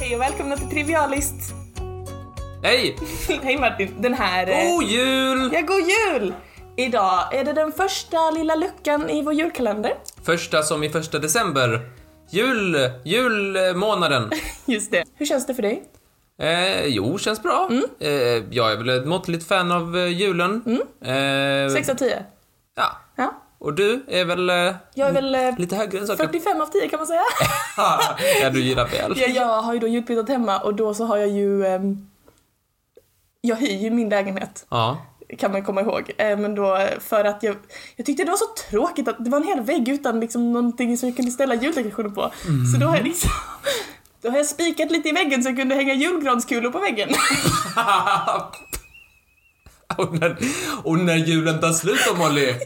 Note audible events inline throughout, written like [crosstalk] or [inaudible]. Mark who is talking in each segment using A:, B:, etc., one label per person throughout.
A: Hej och välkomna till Trivialist! [laughs]
B: Hej!
A: Hej Martin, den här... eh,
B: God jul!
A: Ja, god jul! Idag är det den första lilla luckan i vår julkalender. [laughs]
B: Första som i första december. Jul, julmånaden.
A: Just det. Hur känns det för dig?
B: Eh, jo, känns bra.
A: Mm.
B: Eh, jag är väl ett måttligt fan av eh, julen. Eh,
A: 6 av 10?
B: Ja.
A: Ja.
B: Och du är väl eh,
A: Jag är väl eh,
B: lite högre än så?
A: 45 av 10 kan man säga.
B: [laughs] ja, du gillar väl.
A: jag, jag har ju då ljudbytet hemma och då så har jag ju... ehm, jag hyr ju min lägenhet,
B: Ja.
A: kan man komma ihåg. Eh, men då eh, för att jag... Jag tyckte det var så tråkigt att det var en hel vägg utan liksom någonting som jag kunde ställa juldekorationer på. Så då har jag liksom... [laughs] Då har jag spikat lite i väggen så jag kunde hänga julgranskulor på väggen. [laughs]
B: [laughs] och, när, och när julen tar slut då, Molly?
A: Ja,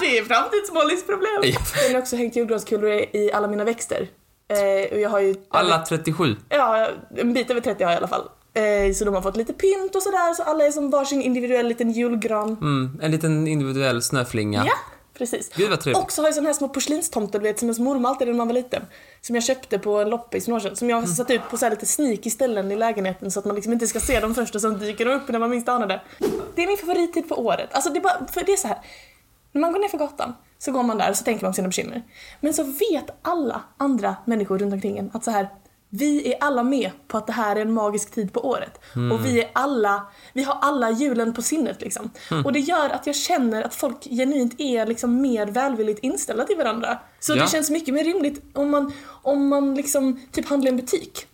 A: det är framtidsmålis problem.
B: Ja.
A: Jag har också hängt julgranskulor i- i alla mina växter. Eh, och jag har ju...
B: Alla 37.
A: Ja, en bit över 30 har jag i alla fall. Eh, så de har fått lite pynt och sådär, så alla är som varsin individuell liten julgran.
B: Mm, en liten individuell snöflinga.
A: Ja, precis.
B: Gud, vad trevligt.
A: Och så har jag sådana här små porslinstomter, du vet, som ens mormor alltid hade när man var liten. Som jag köpte på en loppis för några år sedan. Som jag
B: Mm.
A: har satt ut på så här lite sneaky ställen i lägenheten så att man liksom inte ska se dem först och sen dyker de upp när man minst anar det. Det är min favorittid på året. Alltså det är, bara, för det är så här. När man går ner för gatan så går man där och så tänker man på sina bekymmer. Men så vet alla andra människor runt omkring en att så här vi är alla med på att det här är en magisk tid på året. Och vi är alla, vi har alla julen på sinnet liksom.
B: Mm.
A: Och det gör att jag känner att folk genuint är liksom mer välvilligt inställda till varandra. Så
B: Ja.
A: det känns mycket mer rimligt om man, om man liksom typ handlar i en butik.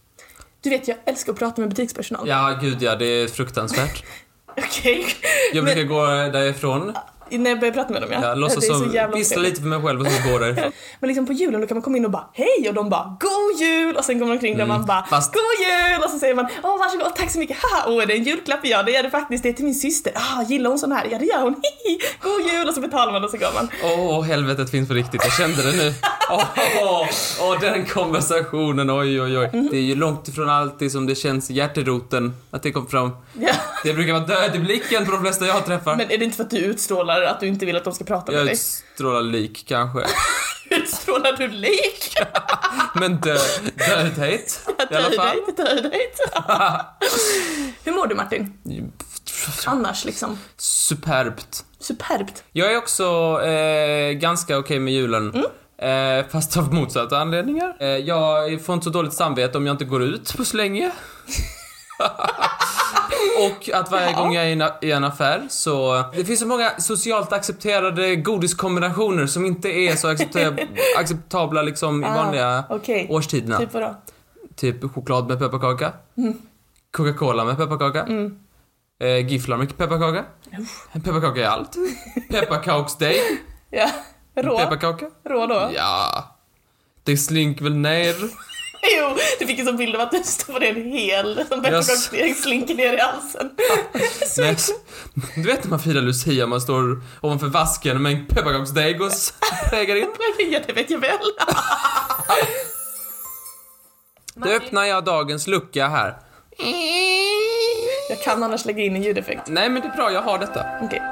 A: Du vet, jag älskar att prata med butikspersonal.
B: Ja, gud ja, det är fruktansvärt.
A: [laughs] Okej.
B: Jag
A: Men-
B: brukar gå därifrån,
A: När jag börjar prata med dem ja. [laughs]
B: jag
A: det
B: låtsas
A: är så
B: som,
A: jävla
B: visslar
A: trevligt.
B: lite för mig själv och så går därifrån.
A: Men liksom på julen då kan man komma in och bara hej och de bara god jul och sen går man omkring där man bara
B: Mm. fast-
A: god jul och så säger man åh varsågod tack så mycket haha åh är det en julklapp ja det är det faktiskt det är till min syster ah gillar hon sån här ja det gör hon [laughs] hihi god jul och så betalar man och så går man.
B: Åh, helvetet finns på riktigt, jag kände det
A: [laughs]
B: nu. Åh, åh, åh, den konversationen, oj, oj, oj.
A: Mm.
B: Det är ju långt ifrån alltid som det känns i hjärteroten att det kom fram.
A: Ja.
B: Det brukar vara död i blicken på de flesta jag träffar.
A: Men är det inte för att du utstrålar att du inte vill att de ska prata med
B: jag
A: dig?
B: utstrålar lik kanske.
A: [laughs] Utstrålar du lik?
B: Men dö,
A: [laughs]
B: dödhet i alla fall.
A: Töjdejt, töjdejt.
B: [laughs]
A: Hur mår du Martin? Annars liksom?
B: Superbt.
A: Superbt.
B: Jag är också eh, ganska okej med julen.
A: Mm.
B: Eh, fast av motsatta anledningar. Eh, jag får inte så dåligt samvete om jag inte går ut på så länge. [laughs] Och att varje
A: Ja.
B: gång jag är i en, i en affär så... Det finns så många socialt accepterade godiskombinationer som inte är så
A: [laughs]
B: accepta- acceptabla liksom i vanliga
A: Ah, okej.
B: årstiderna. Typ.
A: Typ vadå?
B: choklad med pepparkaka. Coca-Cola med pepparkaka. Eh, gifflar med pepparkaka. Pepparkaka är [laughs] allt. Pepparkaksdeg.
A: Ja, rå?
B: Pepparkaka?
A: Rå då?
B: Ja. Det slink väl ner.
A: [laughs] Jo, du fick en sån bild av att du stoppade en hel som
B: Jag s-
A: pepparkaksdeg slinker ner i [laughs] halsen. Så
B: Nej. Du vet när man firar Lucia, man står ovanför vasken med en pepparkaksdeg och s- stegar in.
A: äcklig. Ja, det vet jag väl.
B: Då öppnar jag dagens lucka här.
A: Jag kan annars lägga in en ljudeffekt.
B: Nej men det är bra, jag har detta.
A: Okej.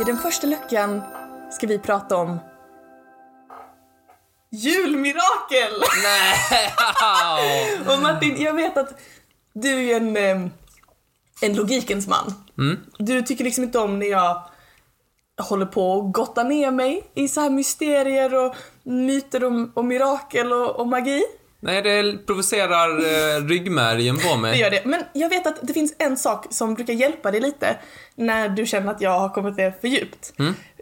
A: I den första luckan ska vi prata om julmirakel.
B: Nej!
A: [laughs] Och Martin, jag vet att du är en, eh, en logikens man. Du tycker liksom inte om när jag håller på och gottar ner mig i så här mysterier och myter om, om mirakel och, och magi.
B: Nej, det provocerar eh, ryggmärgen på
A: Det
B: mig.
A: gör det. Men jag vet att det finns en sak som brukar hjälpa dig lite när du känner att jag har kommit ner för djupt.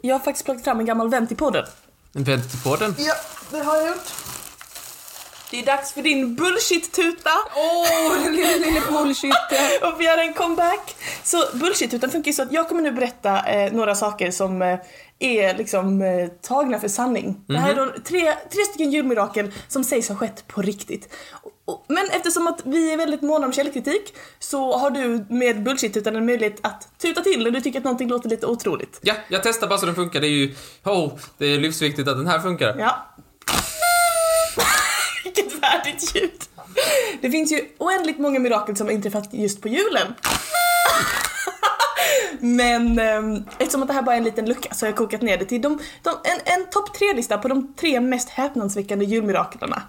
A: Jag har faktiskt plockat fram en gammal vän till podden.
B: Vänd till podden.
A: Ja, det har jag gjort. Det är dags för din bullshit-tuta.
B: Åh, oh, lille, lille bullshit.
A: [laughs] och vi gör en comeback. Så bullshit, utan funkar ju så att jag kommer nu berätta eh, några saker som eh, är liksom eh, tagna för sanning. Det här är då tre, tre stycken julmirakel som sägs ha skett på riktigt. Och, och, men eftersom att vi är väldigt måna om källkritik så har du med bullshit utan en möjlighet att tuta till när du tycker att någonting låter lite otroligt.
B: Ja, jag testar bara så den funkar. Det är ju... Oh, det är
A: [laughs]
B: livsviktigt att den här funkar.
A: Ja. Vilket värdigt ljud. Det finns ju oändligt många mirakel som har inträffat just på julen. [laughs] Men eh, eftersom att det här bara är en liten lucka så har jag kokat ner det till de, de, en, en topp tre-lista på de tre mest häpnadsväckande julmiraklerna.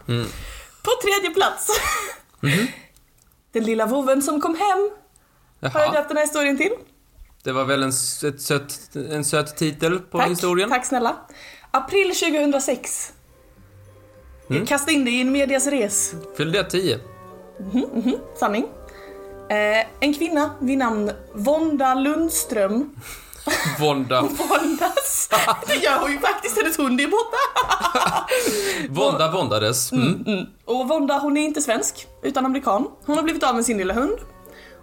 A: På tredje plats. [laughs] Den lilla vovven som kom hem har jag
B: Jaha.
A: döpt den här historien till.
B: Det var väl en, s- ett söt, en söt titel på
A: Tack,
B: historien?
A: tack snälla. April 2006. Kasta in det i en medias res.
B: Fyllde jag 10?
A: Sanning. Eh, en kvinna vid namn Vonda Lundström [laughs]
B: Vonda.
A: Vondas. Det gör hon ju faktiskt, hennes hund är borta.
B: Vonda våndades. Mm.
A: Och Vonda hon är inte svensk, utan amerikan. Hon har blivit av med sin lilla hund.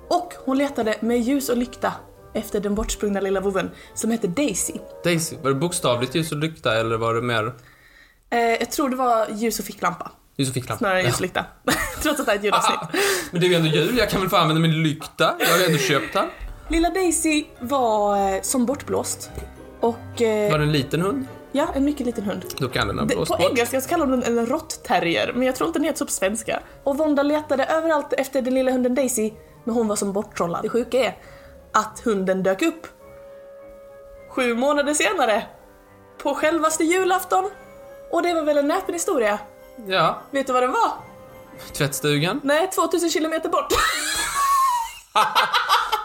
A: Och hon letade med ljus och lykta efter den bortsprungna lilla vovven som hette Daisy.
B: Daisy, var det bokstavligt ljus och lykta eller var det mer
A: Eh, jag tror det var ljus och ficklampa,
B: ljus och ficklampa?
A: snarare
B: [laughs]
A: än ljus och lykta. [laughs] Trots att det är ett julavsnitt.
B: Ah. Men det är ju ändå jul, jag kan väl få använda min lykta? Jag har ju ändå köpt den.
A: Lilla Daisy var eh, som bortblåst. Och eh,
B: Var det en liten hund?
A: ja, en mycket liten hund.
B: Då kan den ha
A: Det-
B: blåst
A: På
B: bort.
A: engelska så kallar de den en råttterrier, men jag tror inte den heter så på svenska. Och Vonda letade överallt efter den lilla hunden Daisy, men hon var som borttrollad. Det sjuka är att hunden dök upp. Sju månader senare, på självaste julafton. Och det var väl en näpen historia.
B: Ja,
A: Vet du vad den var?
B: tvättstugan.
A: Nej, 2000 kilometer bort. [laughs]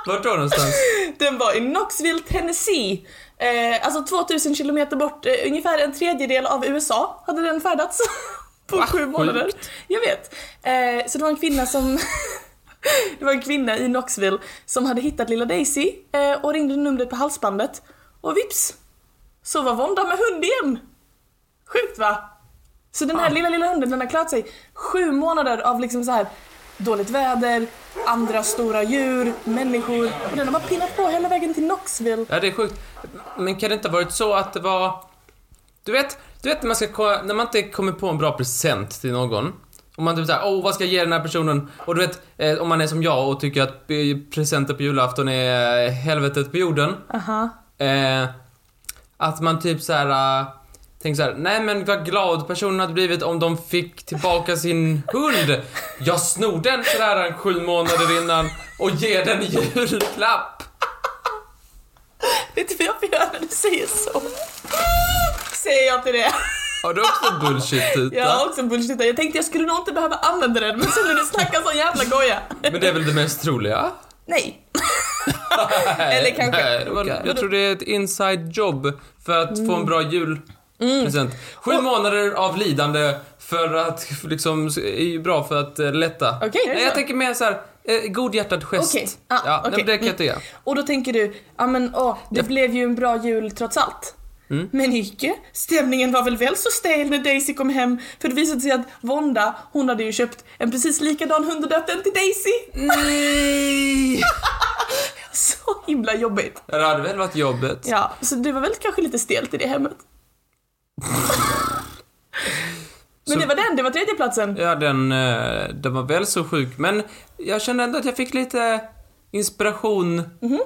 B: Vart då någonstans?
A: Den var i Knoxville, Tennessee. Eh, alltså 2000 kilometer bort, eh, ungefär en tredjedel av USA hade den färdats. [laughs] på sju månader. Jag vet. Eh, så det var en kvinna som... [laughs] det var en kvinna i Knoxville som hade hittat lilla Daisy eh, och ringde numret på halsbandet. Och vips! Så var Vonda med hund igen. Sjukt va? Så den här lilla, lilla hunden den har klarat sig sju månader av liksom så här dåligt väder, andra stora djur, människor. Och den har bara pinnat på hela vägen till Knoxville.
B: Ja, det är sjukt. Men kan det inte ha varit så att det var... Du vet, du vet när, man ska, ko- när man inte kommer på en bra present till någon. Om man typ såhär, åh vad ska jag ge den här personen? Och du vet, eh, om man är som jag och tycker att eh, presenter på julafton är eh, helvetet på jorden.
A: Aha.
B: Eh, att man typ så här. eh, tänker så här, nej men vad glad personen hade blivit om de fick tillbaka sin hund. Jag snor den sådär en sju månader innan och ger den i julklapp.
A: Vet du vad jag får göra när du säger så? Säger jag till det.
B: Har du också bullshit
A: Jag har också bullshittat. Jag tänkte jag skulle nog inte behöva använda den men sen när du snackar sån jävla goja.
B: Men det är väl det mest troliga?
A: Nej. Eller kanske.
B: Nej, det var, jag tror det är ett inside job för att få
A: Mm.
B: en bra julpresent. Sju månader av lidande för att liksom, är ju bra för att eh, lätta.
A: Okej, är det
B: Nej, jag
A: så?
B: tänker mer såhär, eh, godhjärtad gest.
A: Okej, ah,
B: ja, nej,
A: okej.
B: men det kan jag inte ge.
A: Och då tänker du, ja men åh, det blev ju en bra jul trots allt. Men icke. Stämningen var väl väl så stel när Daisy kom hem för det visade sig att Vonda, hon hade ju köpt en precis likadan hund och döpt den till Daisy. [laughs]
B: Nej!
A: Så himla jobbigt.
B: Det hade väl varit jobbet.
A: Ja, så det var väl kanske lite stelt i det hemmet. men
B: Så-
A: det var den, det var tredjeplatsen.
B: Ja, den, eh, den var väl så sjuk. Men jag kände ändå att jag fick lite inspiration
A: Mm-hmm.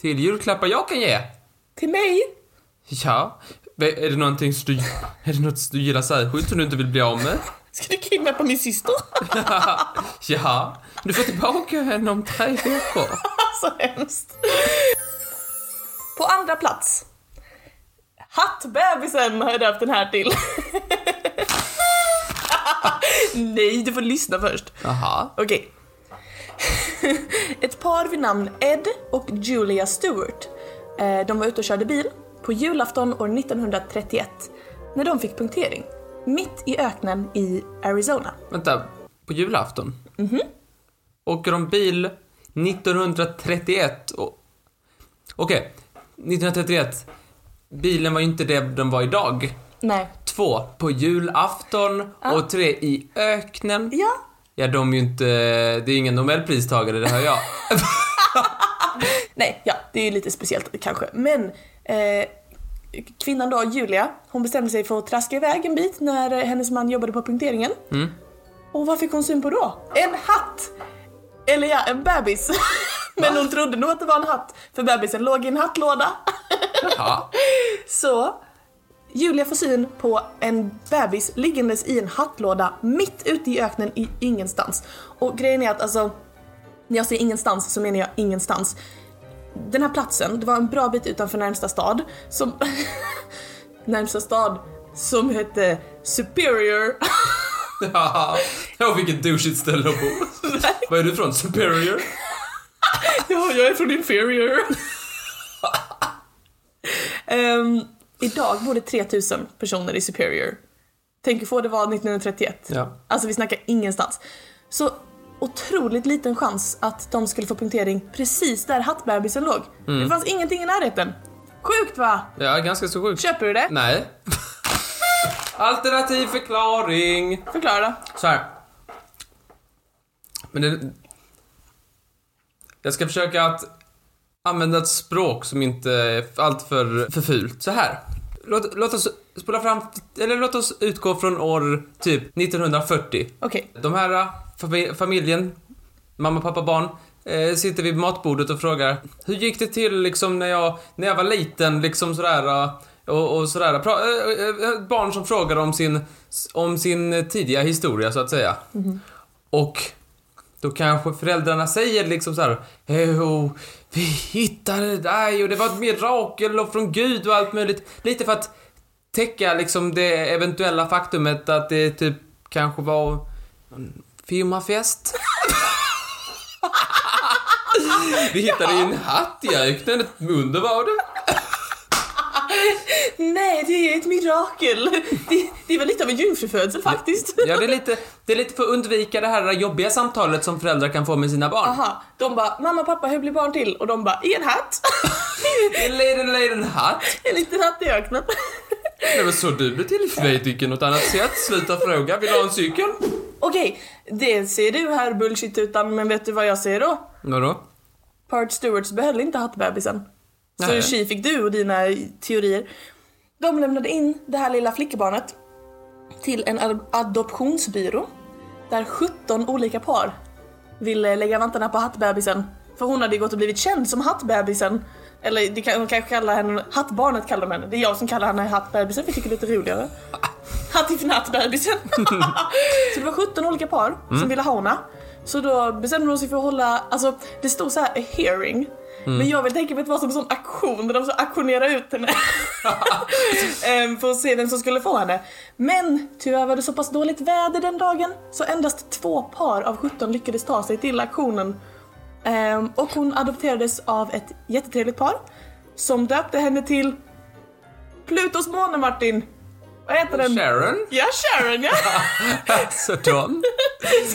B: till julklappar jag kan ge.
A: Till mig.
B: Ja. Är det någonting som du, är det något du gillar särskilt som du inte vill bli av med?
A: Ska du kidnappa min syster?
B: ja. Du får tillbaka henne om tre veckor.
A: [laughs] så hemskt. På andra plats. Hattbebisen har jag döpt den här till. [laughs] Nej, du får lyssna först.
B: Jaha.
A: Okej. [laughs] Ett par vid namn Ed och Julia Stewart. Eh, De var ute och körde bil på julafton år 1931 när de fick punktering. Mitt i öknen i Arizona.
B: Vänta. På julafton? Mhm. Åker de bil 1931 och... Okej. 1931. Bilen var ju inte det den var idag.
A: Nej.
B: Två, på julafton och tre, i öknen.
A: Ja,
B: Ja, de är ju inte... Det är ingen Nobelpristagare, det hör jag.
A: Nej, ja, det är ju lite speciellt kanske. Men eh, kvinnan då, Julia, hon bestämde sig för att traska iväg en bit när eh, hennes man jobbade på punkteringen. Och vad fick hon syn på då? En hatt! Eller ja, en bebis. [laughs] Men hon trodde nog att det var en hatt, för bebisen låg i en hattlåda.
B: Ja.
A: Så Julia får syn på en bebis liggandes i en hattlåda mitt ute i öknen i ingenstans. Och grejen är att alltså, när jag säger ingenstans så menar jag ingenstans. Den här platsen, det var en bra bit utanför närmsta stad som... [laughs] närmsta stad som hette Superior. [laughs]
B: Ja, vilket douchigt ställe att bo. Var är du från? Superior?
A: ja, jag är från Inferior. Ehm, idag bor det 3000 personer i Superior. Tänk få det var 1931.
B: Ja.
A: Alltså vi snackar ingenstans. Så otroligt liten chans att de skulle få punktering precis där hattbebisen låg.
B: Mm.
A: Det fanns ingenting i närheten. Sjukt va?
B: Ja, ganska så sjukt.
A: Köper du det?
B: Nej. Alternativ förklaring.
A: Förklara då.
B: Så här. Men det... Jag ska försöka att använda ett språk som inte är alltför för fult. Så här. Låt, låt oss spola fram, eller låt oss utgå från år typ 1940.
A: Okej.
B: De här fami- familjen, mamma, pappa, barn, eh, sitter vid matbordet och frågar Hur gick det till liksom när jag, när jag var liten liksom sådär eh, och, och sådär. Pra, eh, eh, eh, barn som frågar om sin, om sin eh, tidiga historia så att säga. Och då kanske föräldrarna säger liksom så här, "Jo, vi hittade dig och det var ett mirakel och från Gud och allt möjligt. Lite för att täcka liksom det eventuella faktumet att det typ kanske var en firmafest. vi hittade en hatt i öknen, ett under var det.
A: Nej, det är ett mirakel. Det, det var lite av en jungfrufödsel faktiskt.
B: Ja, det är lite, det är lite för att undvika det här jobbiga samtalet som föräldrar kan få med sina barn.
A: Aha, de bara mamma pappa hur blir barn till? Och de bara i en hatt. [laughs]
B: En liten, liten hatt.
A: en liten hatt i öknen. [laughs]
B: Det var så du blev till för mig tycker något annat sätt. Sluta fråga, vill du ha en cykel?
A: Okej, det ser du här bullshit utan men vet du vad jag ser då?
B: Vadå?
A: Part Stewarts behöll inte hattbebisen. Så
B: Nej.
A: tji fick du och dina teorier. De lämnade in det här lilla flickebarnet till en ad- adoptionsbyrå där 17 olika par ville lägga vantarna på hattbebisen. För hon hade ju gått och blivit känd som hattbebisen. Eller det kan, hon kanske kallar henne, hattbarnet kallar de henne. Det är jag som kallar henne hattbebisen för jag tycker det är lite roligare. Hattifnatt-bebisen. [laughs] så det var 17 olika par som ville ha henne. Så då bestämde de sig för att hålla, alltså det stod så här a hearing. Men jag vill tänka mig att det var som en sån auktion där de så auktionerade ut henne. Ehm, för att se vem som skulle få henne. Men tyvärr var det så pass dåligt väder den dagen så endast två par av 17 lyckades ta sig till auktionen. Ehm, och hon adopterades av ett jättetrevligt par som döpte henne till Plutos måne Martin. Vad heter den?
B: Sharon?
A: Ja, Sharon [laughs] ja!
B: [laughs] Så dum.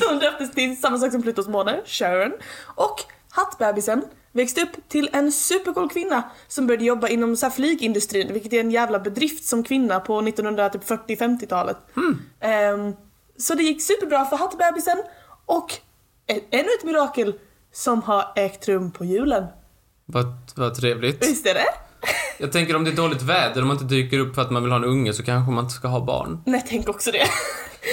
A: Så hon döptes till samma sak som Plutos måne, Sharon. Och hattbebisen växte upp till en supercool kvinna som började jobba inom så här flygindustrin, vilket är en jävla bedrift som kvinna på 1940-50-talet. så det gick superbra för hattbebisen och e- ännu ett mirakel som har ägt rum på julen.
B: Vad, vad trevligt.
A: Visst är [laughs] det?
B: Jag tänker om det är dåligt väder och man inte dyker upp för att man vill ha en unge så kanske man inte ska ha barn.
A: Nej, tänk också det.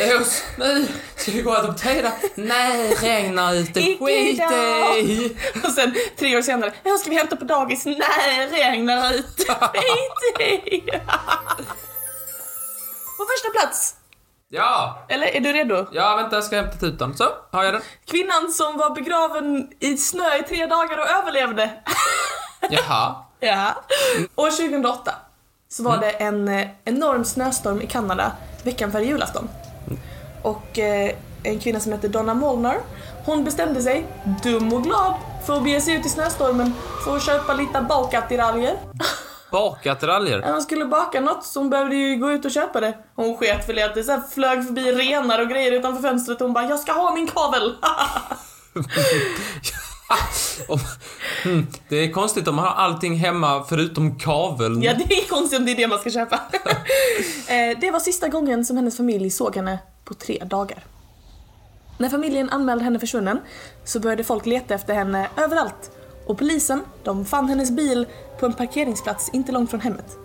B: Nej, usch, nej! Ska vi gå och adoptera? Nej, regna ute,
A: Icke
B: skit
A: idag.
B: i!
A: [laughs] Och sen tre år senare, "Ja, ska vi hämta på dagis? Nej, regnar [laughs] ut. Skit i. [laughs] På första plats,
B: Ja!
A: eller är du redo?
B: Ja, vänta, jag ska hämta tutan. Så, har jag den?
A: Kvinnan som var begraven i snö i tre dagar och [laughs] överlevde.
B: Jaha.
A: Ja. År 2008 så var det en eh, enorm snöstorm i Kanada veckan före julafton. Och eh, en kvinna som hette Donna Molnar, hon bestämde sig, dum och glad, för att bege sig ut i snöstormen för att köpa lite bakattiraljer.
B: Bakattiraljer.
A: När hon skulle baka något så hon behövde ju gå ut och köpa det. Hon sket väl i att det så här flög förbi renar och grejer utanför fönstret och hon bara “Jag ska ha min kavel!” [laughs]
B: Om- Mm, Det är konstigt om man har allting hemma förutom kaveln.
A: Ja, det är konstigt om det är det man ska köpa. Eh, det var sista gången som hennes familj såg henne på tre dagar. När familjen anmälde henne försvunnen så började folk leta efter henne överallt. Och polisen, de fann hennes bil på en parkeringsplats inte långt från hemmet.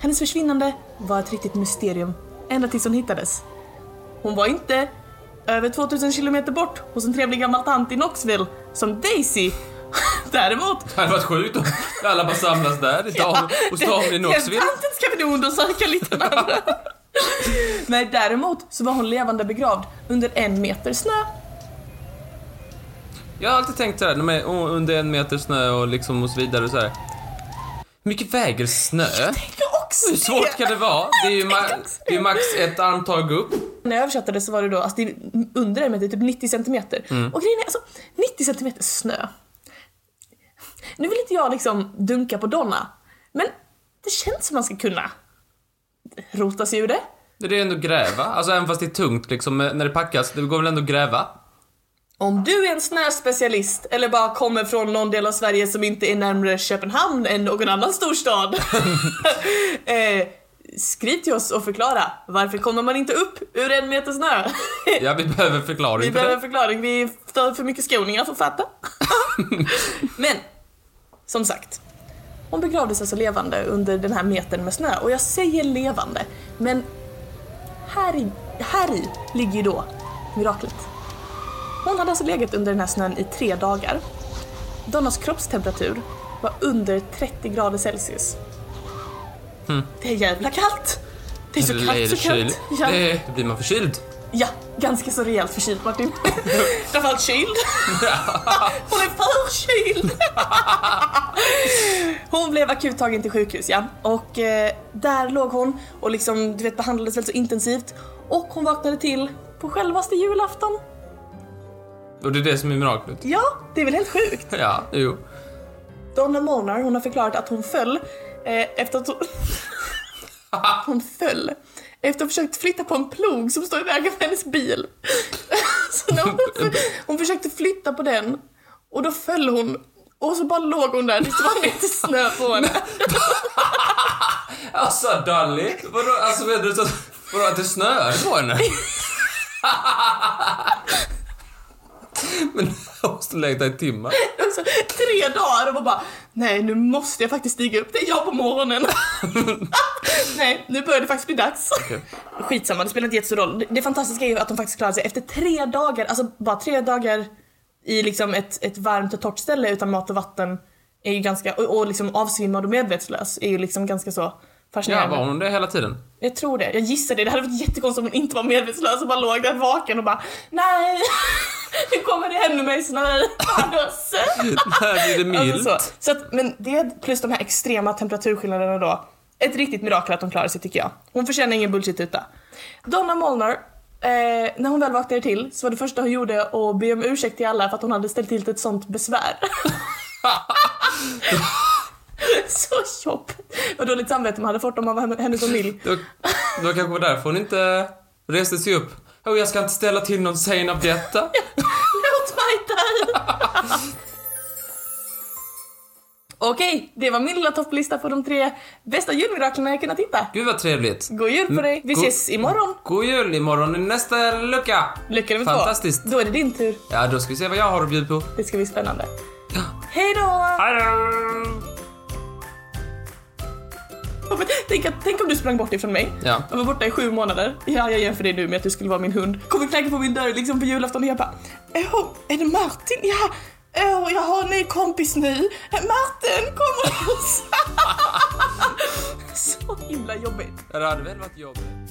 A: Hennes försvinnande var ett riktigt mysterium, ända tills hon hittades. Hon var inte över 2000 kilometer bort hos en trevlig gammal tant i Knoxville, som Daisy. [laughs] Däremot,
B: Det hade varit sjukt om alla bara samlas där. Ja, hos damen i Knoxville.
A: Tanten ska vi nog undersöka lite
B: [laughs]
A: närmare. Nej, däremot så var hon levande begravd under en meter snö.
B: Jag har alltid tänkt såhär, de är under en meter snö och liksom och så vidare och så här. Hur mycket väger snö?
A: Tänk jag också
B: Hur svårt kan det vara? Det är ju, ma- det är ju max ett armtag upp.
A: När jag översatte det så var det då, alltså det är under en meter, typ 90 centimeter.
B: Mm.
A: Och grejen är alltså, 90 centimeter snö. Nu vill inte jag liksom dunka på Donna, men det känns som man ska kunna rota sig ur det.
B: Det är ändå att gräva. Alltså även fast det är tungt liksom, när det packas, det går väl ändå att gräva?
A: Om du är en snöspecialist eller bara kommer från någon del av Sverige som inte är närmare Köpenhamn än någon annan storstad. eh, skriv till oss och förklara. Varför kommer man inte upp ur en meter snö?
B: Ja, vi behöver förklaring
A: Vi
B: på det.
A: behöver en förklaring. Vi stör för mycket skåningar för att fatta. [laughs] Men, som sagt. Hon begravdes alltså levande under den här metern med snö. Och jag säger levande, men här i, här i ligger ju då miraklet. Hon hade alltså legat under den här snön i tre dagar. Donnas kroppstemperatur var under 30 grader Celsius.
B: Hm.
A: Det är jävla kallt! Det är så kallt, så
B: kyl.
A: kallt. Ja.
B: Det då blir man förkyld.
A: Ja, ganska så rejält förkyld Martin. [laughs] Framförallt kyld. [laughs] Hon är förkyld! [laughs] hon blev akut tagen till sjukhus ja. Och eh, där låg hon och liksom du vet behandlades väldigt så intensivt. Och hon vaknade till på självaste julafton.
B: Och det är det som är miraklet.
A: Ja, det är väl helt sjukt?
B: Ja, jo.
A: Donna Molnar, hon har förklarat att hon föll eh, efter att hon... hon föll. Efter att ha försökt flytta på en plog som står i vägen för hennes bil. [laughs] så när hon, hon försökte flytta på den och då föll hon. Och så bara låg hon där tills det var lite snö på henne.
B: Alltså Dolly, vadå, alltså menar du så- vadå att det snöar på henne? Men jag måste lägga dig i timmar.
A: Alltså, tre dagar och var bara nej nu måste jag faktiskt stiga upp, det är jag på
B: [laughs]
A: morgonen. nej, nu börjar det faktiskt bli dags.
B: Okej.
A: Skitsamma, det spelar inte jättestor roll. Det- Det fantastiska är ju att de faktiskt klarade sig efter tre dagar, alltså bara tre dagar i liksom ett, ett varmt och torrt ställe utan mat och vatten är ju ganska, och, och liksom avsvimmad och medvetslös är ju liksom ganska så
B: Ja,
A: fascinerande.
B: var hon det hela tiden?
A: Jag tror det, jag gissar det. Det hade varit jättekonstigt om hon inte var medvetslös och bara låg där vaken och bara nej, [laughs] nu kommer det ännu mer snö. [laughs] Fan, vad sött."
B: Här blir det
A: Alltså
B: milt.
A: så. Så att, men det plus de här extrema temperaturskillnaderna då. Ett riktigt mirakel att hon klarar sig tycker jag. Hon förtjänar ingen bullshit-tuta. Donna Molnar, eh, när hon väl vaknade till så var det första hon gjorde att be om ursäkt till alla för att hon hade ställt till ett sånt besvär. [laughs] så jobbigt. Vad dåligt samvete man hade fått om man var henne- hennes familj.
B: Då, då kanske var därför hon inte reste sig upp. Oh, jag ska inte ställa till någon scen av detta.
A: Låt mig dö! [laughs] Okej, det var min lilla topplista på de tre bästa julmiraklerna jag kunnat hitta.
B: Gud vad trevligt.
A: God jul på dig! Vi
B: Mm. God-
A: ses imorgon!
B: God jul imorgon i nästa lucka.
A: Lycka nummer två!
B: Fantastiskt.
A: Då är det din tur.
B: Ja, då ska vi se vad jag har att bjuda på.
A: Det ska bli spännande. Hej
B: Ah.
A: då!
B: Hallå!
A: Tänk, att, tänk om du sprang bort ifrån mig.
B: Ja.
A: Jag var borta i sju månader. Ja, jag jämför dig nu med att du skulle vara min hund. Kommer knacka på min dörr liksom på julafton och jag bara Åh, är det Martin? Ja! Åh, jag har en ny kompis nu. Martin, kom och hälsa! [laughs] Så himla jobbigt.
B: Det hade väl varit jobbigt.